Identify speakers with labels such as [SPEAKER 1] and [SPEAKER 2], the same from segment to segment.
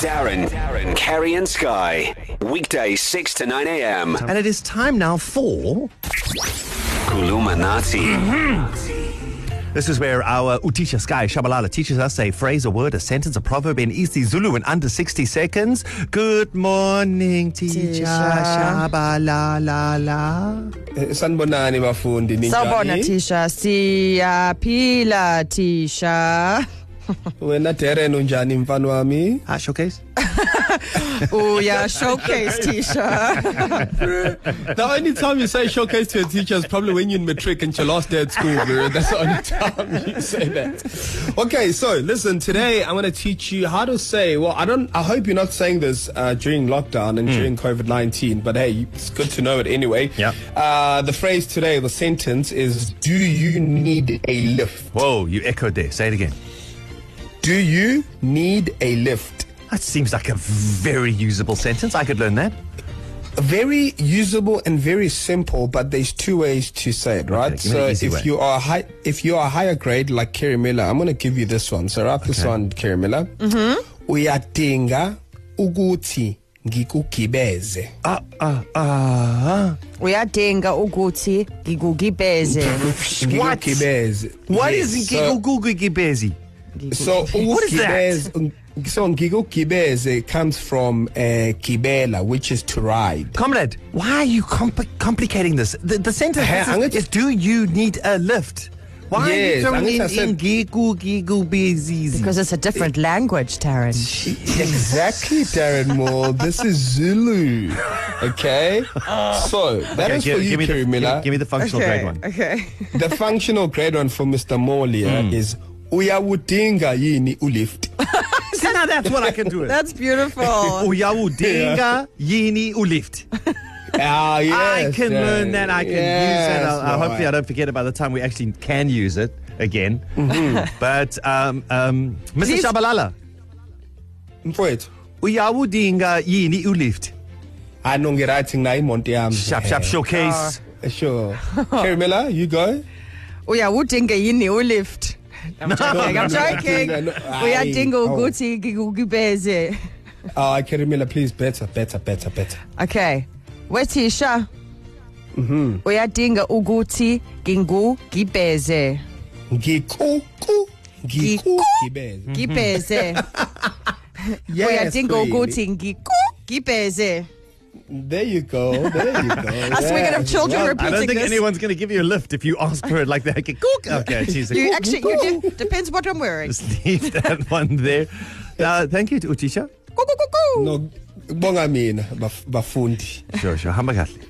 [SPEAKER 1] Darren, Darren, Kerry and Sky. Weekdays 6 to 9 a.m.
[SPEAKER 2] And it is time now for.
[SPEAKER 1] Kulumanati.
[SPEAKER 2] This is where our Utisha Sky Shabalala teaches us a phrase, a word, a sentence, a proverb in East Zulu in under 60 seconds. Good morning, teacher
[SPEAKER 3] Tisha.
[SPEAKER 2] Shabalala.
[SPEAKER 4] Eh, sanibonani bafundi
[SPEAKER 3] sawubona
[SPEAKER 4] ninjani
[SPEAKER 3] thisha siyaphila thisha
[SPEAKER 4] wena Darren unjani mfana wami
[SPEAKER 2] Ah, showcase?
[SPEAKER 3] uya showcase thisha
[SPEAKER 4] the only time you say showcase to a teacher is probably when you're in matric and it's your last day at school bro. that's the only time you say that okay so listen today i'm going to teach you how to say well i don't i hope you're not saying this uh, during lockdown and during covid-19 but hey it's good to know it anyway
[SPEAKER 2] Yeah.
[SPEAKER 4] uh, the phrase today the sentence is do you need a lift
[SPEAKER 2] Whoa, you echoed there. Say it again.
[SPEAKER 4] do you need a lift
[SPEAKER 2] That seems like a very usable sentence. I could learn that.
[SPEAKER 4] very usable and very simple, but there's two ways to say it, right?
[SPEAKER 2] give me
[SPEAKER 4] so
[SPEAKER 2] the
[SPEAKER 4] if
[SPEAKER 2] easy way.
[SPEAKER 4] you are high, if you are higher grade like Kerry Miller, I'm gonna give you this one. So write this
[SPEAKER 2] Okay.
[SPEAKER 4] one, Kerry Miller. Mm-hmm. Uyadinga uguti ngikugibeze.
[SPEAKER 2] Ah, ah, ah.
[SPEAKER 3] uyadinga ukuthi ngikugibeze
[SPEAKER 2] What?
[SPEAKER 4] Ngikugibeze.
[SPEAKER 2] What
[SPEAKER 4] Yes.
[SPEAKER 2] is Gigugugigibezi?
[SPEAKER 4] So, so
[SPEAKER 2] What is that?
[SPEAKER 4] ukugibeze. So ngikugibeze comes from uh, kibela, which is to ride.
[SPEAKER 2] Comrade, why are you compl- complicating this? The, the sentence
[SPEAKER 4] Hey,
[SPEAKER 2] is,
[SPEAKER 4] I'm gonna-
[SPEAKER 2] is do you need a lift? Why are you
[SPEAKER 4] Yes, I'm
[SPEAKER 2] throwing
[SPEAKER 4] gonna
[SPEAKER 2] in, in
[SPEAKER 4] said-
[SPEAKER 2] gigu gigu bezizi?
[SPEAKER 3] because it's a different language Taryn
[SPEAKER 4] Exactly, Darren Moore. this is Zulu. Okay? So, that is for you, Kerry Miller.
[SPEAKER 2] the functional
[SPEAKER 3] okay
[SPEAKER 4] the functional grade one for Mr. Molia
[SPEAKER 2] Hmm.
[SPEAKER 4] mm. is Uyawudinga yini ulift.
[SPEAKER 2] See, now that's what I can do it.
[SPEAKER 3] that's beautiful
[SPEAKER 2] Uyawudinga yini ulift.
[SPEAKER 4] Ah, yes,
[SPEAKER 2] I can
[SPEAKER 4] Darren.
[SPEAKER 2] learn that. I can use that. I'll, I'll
[SPEAKER 4] right.
[SPEAKER 2] hopefully, I don't forget it by the time we actually can use it again.
[SPEAKER 4] Mm-hmm.
[SPEAKER 2] but um, um, Mr.
[SPEAKER 3] Please-
[SPEAKER 2] Shabalala,
[SPEAKER 4] Mfowethu,
[SPEAKER 2] uyawudinga yini ulift.
[SPEAKER 4] anongirathi nginayo imoto yami. Eh,
[SPEAKER 2] Shap, shap,
[SPEAKER 4] Ah.
[SPEAKER 2] showcase.
[SPEAKER 4] Sure. Kerry Miller, you go.
[SPEAKER 3] uyawudinga yini ulift I'm joking. I'm
[SPEAKER 4] no, no,
[SPEAKER 3] joking.
[SPEAKER 4] no, no, no.
[SPEAKER 3] Uyadinga
[SPEAKER 4] Aye.
[SPEAKER 3] ukuthi ngikugibeze.
[SPEAKER 4] Uh, Kerry Miller, please, better, better, better, better.
[SPEAKER 3] Okay. Wethisha.
[SPEAKER 4] Mm-hmm.
[SPEAKER 3] Mhm. Uyadinga ukuthi ngingugibeze.
[SPEAKER 4] Mm-hmm. Ngikuku.
[SPEAKER 3] Ngiku-
[SPEAKER 4] Ngikugibeze.
[SPEAKER 3] Gibeze.
[SPEAKER 4] Yes,
[SPEAKER 3] Uyadinga
[SPEAKER 4] really.
[SPEAKER 3] ukuthi ngikugibeze.
[SPEAKER 4] There you go. There you go.
[SPEAKER 3] A swing of children
[SPEAKER 2] I
[SPEAKER 4] Well
[SPEAKER 2] don't
[SPEAKER 3] repeating
[SPEAKER 2] think
[SPEAKER 3] this.
[SPEAKER 2] anyone's going to give you a lift if you ask for it like that. Okay, cook. Okay, she's
[SPEAKER 3] You
[SPEAKER 2] like,
[SPEAKER 3] actually you de- depends what I'm wearing.
[SPEAKER 2] just leave that one there. Uh, thank you to Utisha.
[SPEAKER 3] Go go go go.
[SPEAKER 4] No, bonga mina baf- bafundi.
[SPEAKER 2] Sure, sure. Hamba kahle.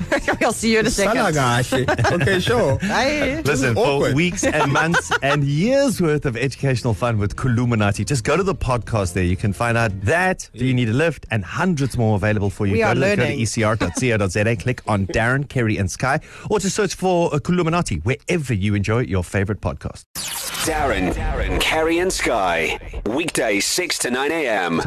[SPEAKER 3] I'll see you in a
[SPEAKER 4] Sala
[SPEAKER 3] second.
[SPEAKER 4] kahle. Okay, sure.
[SPEAKER 3] Bye.
[SPEAKER 2] Listen, for
[SPEAKER 4] awkward.
[SPEAKER 2] weeks and months and years worth of educational fun with Kuluminati, just go to the podcast there. You can find out that, do you need a lift, and hundreds more available for you.
[SPEAKER 3] We
[SPEAKER 2] go,
[SPEAKER 3] are
[SPEAKER 2] to, the- go to E
[SPEAKER 3] learning.
[SPEAKER 2] ecr.co.za, click on Darren, Kerry, and Sky, or just search for uh, Kuluminati wherever you enjoy your favorite podcast.
[SPEAKER 1] Darren, Darren, Kerry and Sky. Weekdays 6 to 9 a.m.